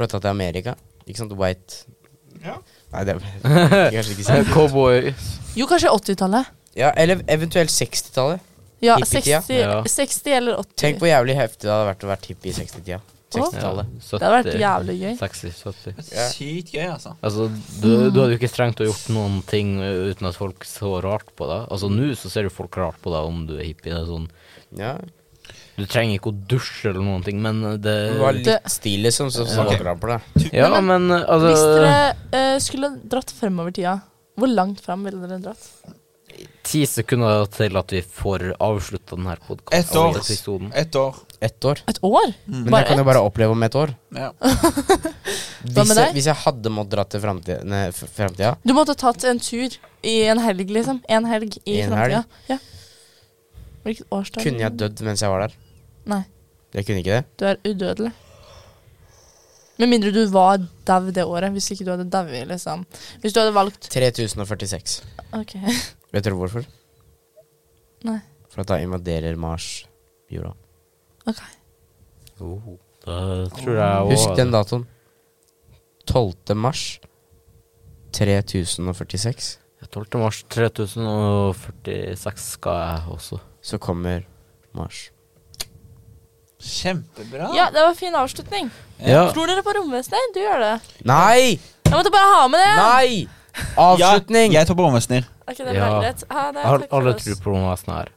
Speaker 4: Flytta til Amerika. Ikke sant? White
Speaker 3: Ja.
Speaker 4: Nei, det er kanskje ikke sant.
Speaker 2: Cowboys.
Speaker 1: Jo, kanskje 80-tallet.
Speaker 4: Ja, eller eventuelt 60-tallet.
Speaker 1: Ja,
Speaker 4: Hippietida.
Speaker 1: 60,
Speaker 2: Ja.
Speaker 1: 60 eller 80.
Speaker 4: Tenk hvor jævlig heftig det hadde vært å være hippie i 60-tida. 60-tallet.
Speaker 1: det hadde vært jævlig gøy.
Speaker 2: 60, 70.
Speaker 4: Ja.
Speaker 3: Sykt gøy, altså.
Speaker 2: Altså, du, du hadde jo ikke trengt å gjort noen ting ø, uten at folk så rart på deg. Altså, nå så ser jo folk rart på deg om du er hippie. Det er sånn,
Speaker 4: Ja.
Speaker 2: du trenger ikke å dusje eller noen ting, men det
Speaker 4: Du var
Speaker 1: Det-
Speaker 4: litt stil, liksom, så så
Speaker 3: Ok.
Speaker 4: bra på deg.
Speaker 2: Ja, men ø,
Speaker 1: Hvis dere
Speaker 2: altså
Speaker 1: eh, skulle dratt fremover tida, hvor langt frem ville dere dratt?
Speaker 2: Ti sekunder til at vi får avslutta denne
Speaker 3: Ett år.
Speaker 2: podkasten.
Speaker 3: Ett år.
Speaker 4: Ett år.
Speaker 1: Et år?
Speaker 4: Men jeg kan jo bare oppleve om et år.
Speaker 3: Ja.
Speaker 1: Hva
Speaker 4: Hvis
Speaker 1: med
Speaker 4: jeg,
Speaker 1: deg?
Speaker 4: hvis jeg hadde måttet dra til framtida, nei, f- framtida
Speaker 1: Du måtte tatt en tur i en helg, liksom. En helg i
Speaker 4: En
Speaker 1: fremtida. Ja. Hvilket årstall?
Speaker 4: kunne jeg dødd mens jeg var der.
Speaker 1: Nei,
Speaker 4: Jeg kunne ikke det.
Speaker 1: du er udødelig. Med mindre du var dau det året. Hvis ikke du hadde dauet, liksom. Hvis du hadde valgt
Speaker 4: 3046.
Speaker 1: Ok.
Speaker 4: Vet dere hvorfor?
Speaker 1: Nei.
Speaker 4: For at da invaderer Mars jorda.
Speaker 1: ok.
Speaker 2: Oh, da tror jeg også-
Speaker 4: Husk den datoen. 12. mars 3046
Speaker 2: 12. mars 3046 skal jeg også.
Speaker 4: så kommer Mars.
Speaker 3: Kjempebra.
Speaker 1: Ja, det var en fin avslutning.
Speaker 2: Ja.
Speaker 1: Tror dere på romvesener? Du gjør det.
Speaker 4: Nei!
Speaker 1: Jeg måtte bare ha med det.
Speaker 4: Nei!
Speaker 3: Ja,
Speaker 4: Avslutning!
Speaker 3: jeg tar på meg snill.
Speaker 1: Ok, det ble
Speaker 2: Ja.
Speaker 1: greit. Ha det.
Speaker 2: Al-
Speaker 1: Takk for
Speaker 2: Alle
Speaker 1: oss.
Speaker 2: tror på noe sånt her.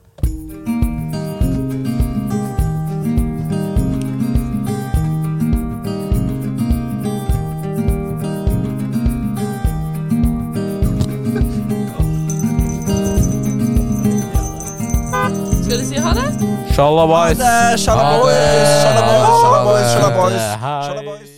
Speaker 1: Skal du si ha det?
Speaker 2: Shalabais!
Speaker 3: Shalabais,
Speaker 4: Ha det.
Speaker 3: shalabais, shalabais, shalabais,
Speaker 2: Ha det. Eh, Hei.
Speaker 3: shalabais.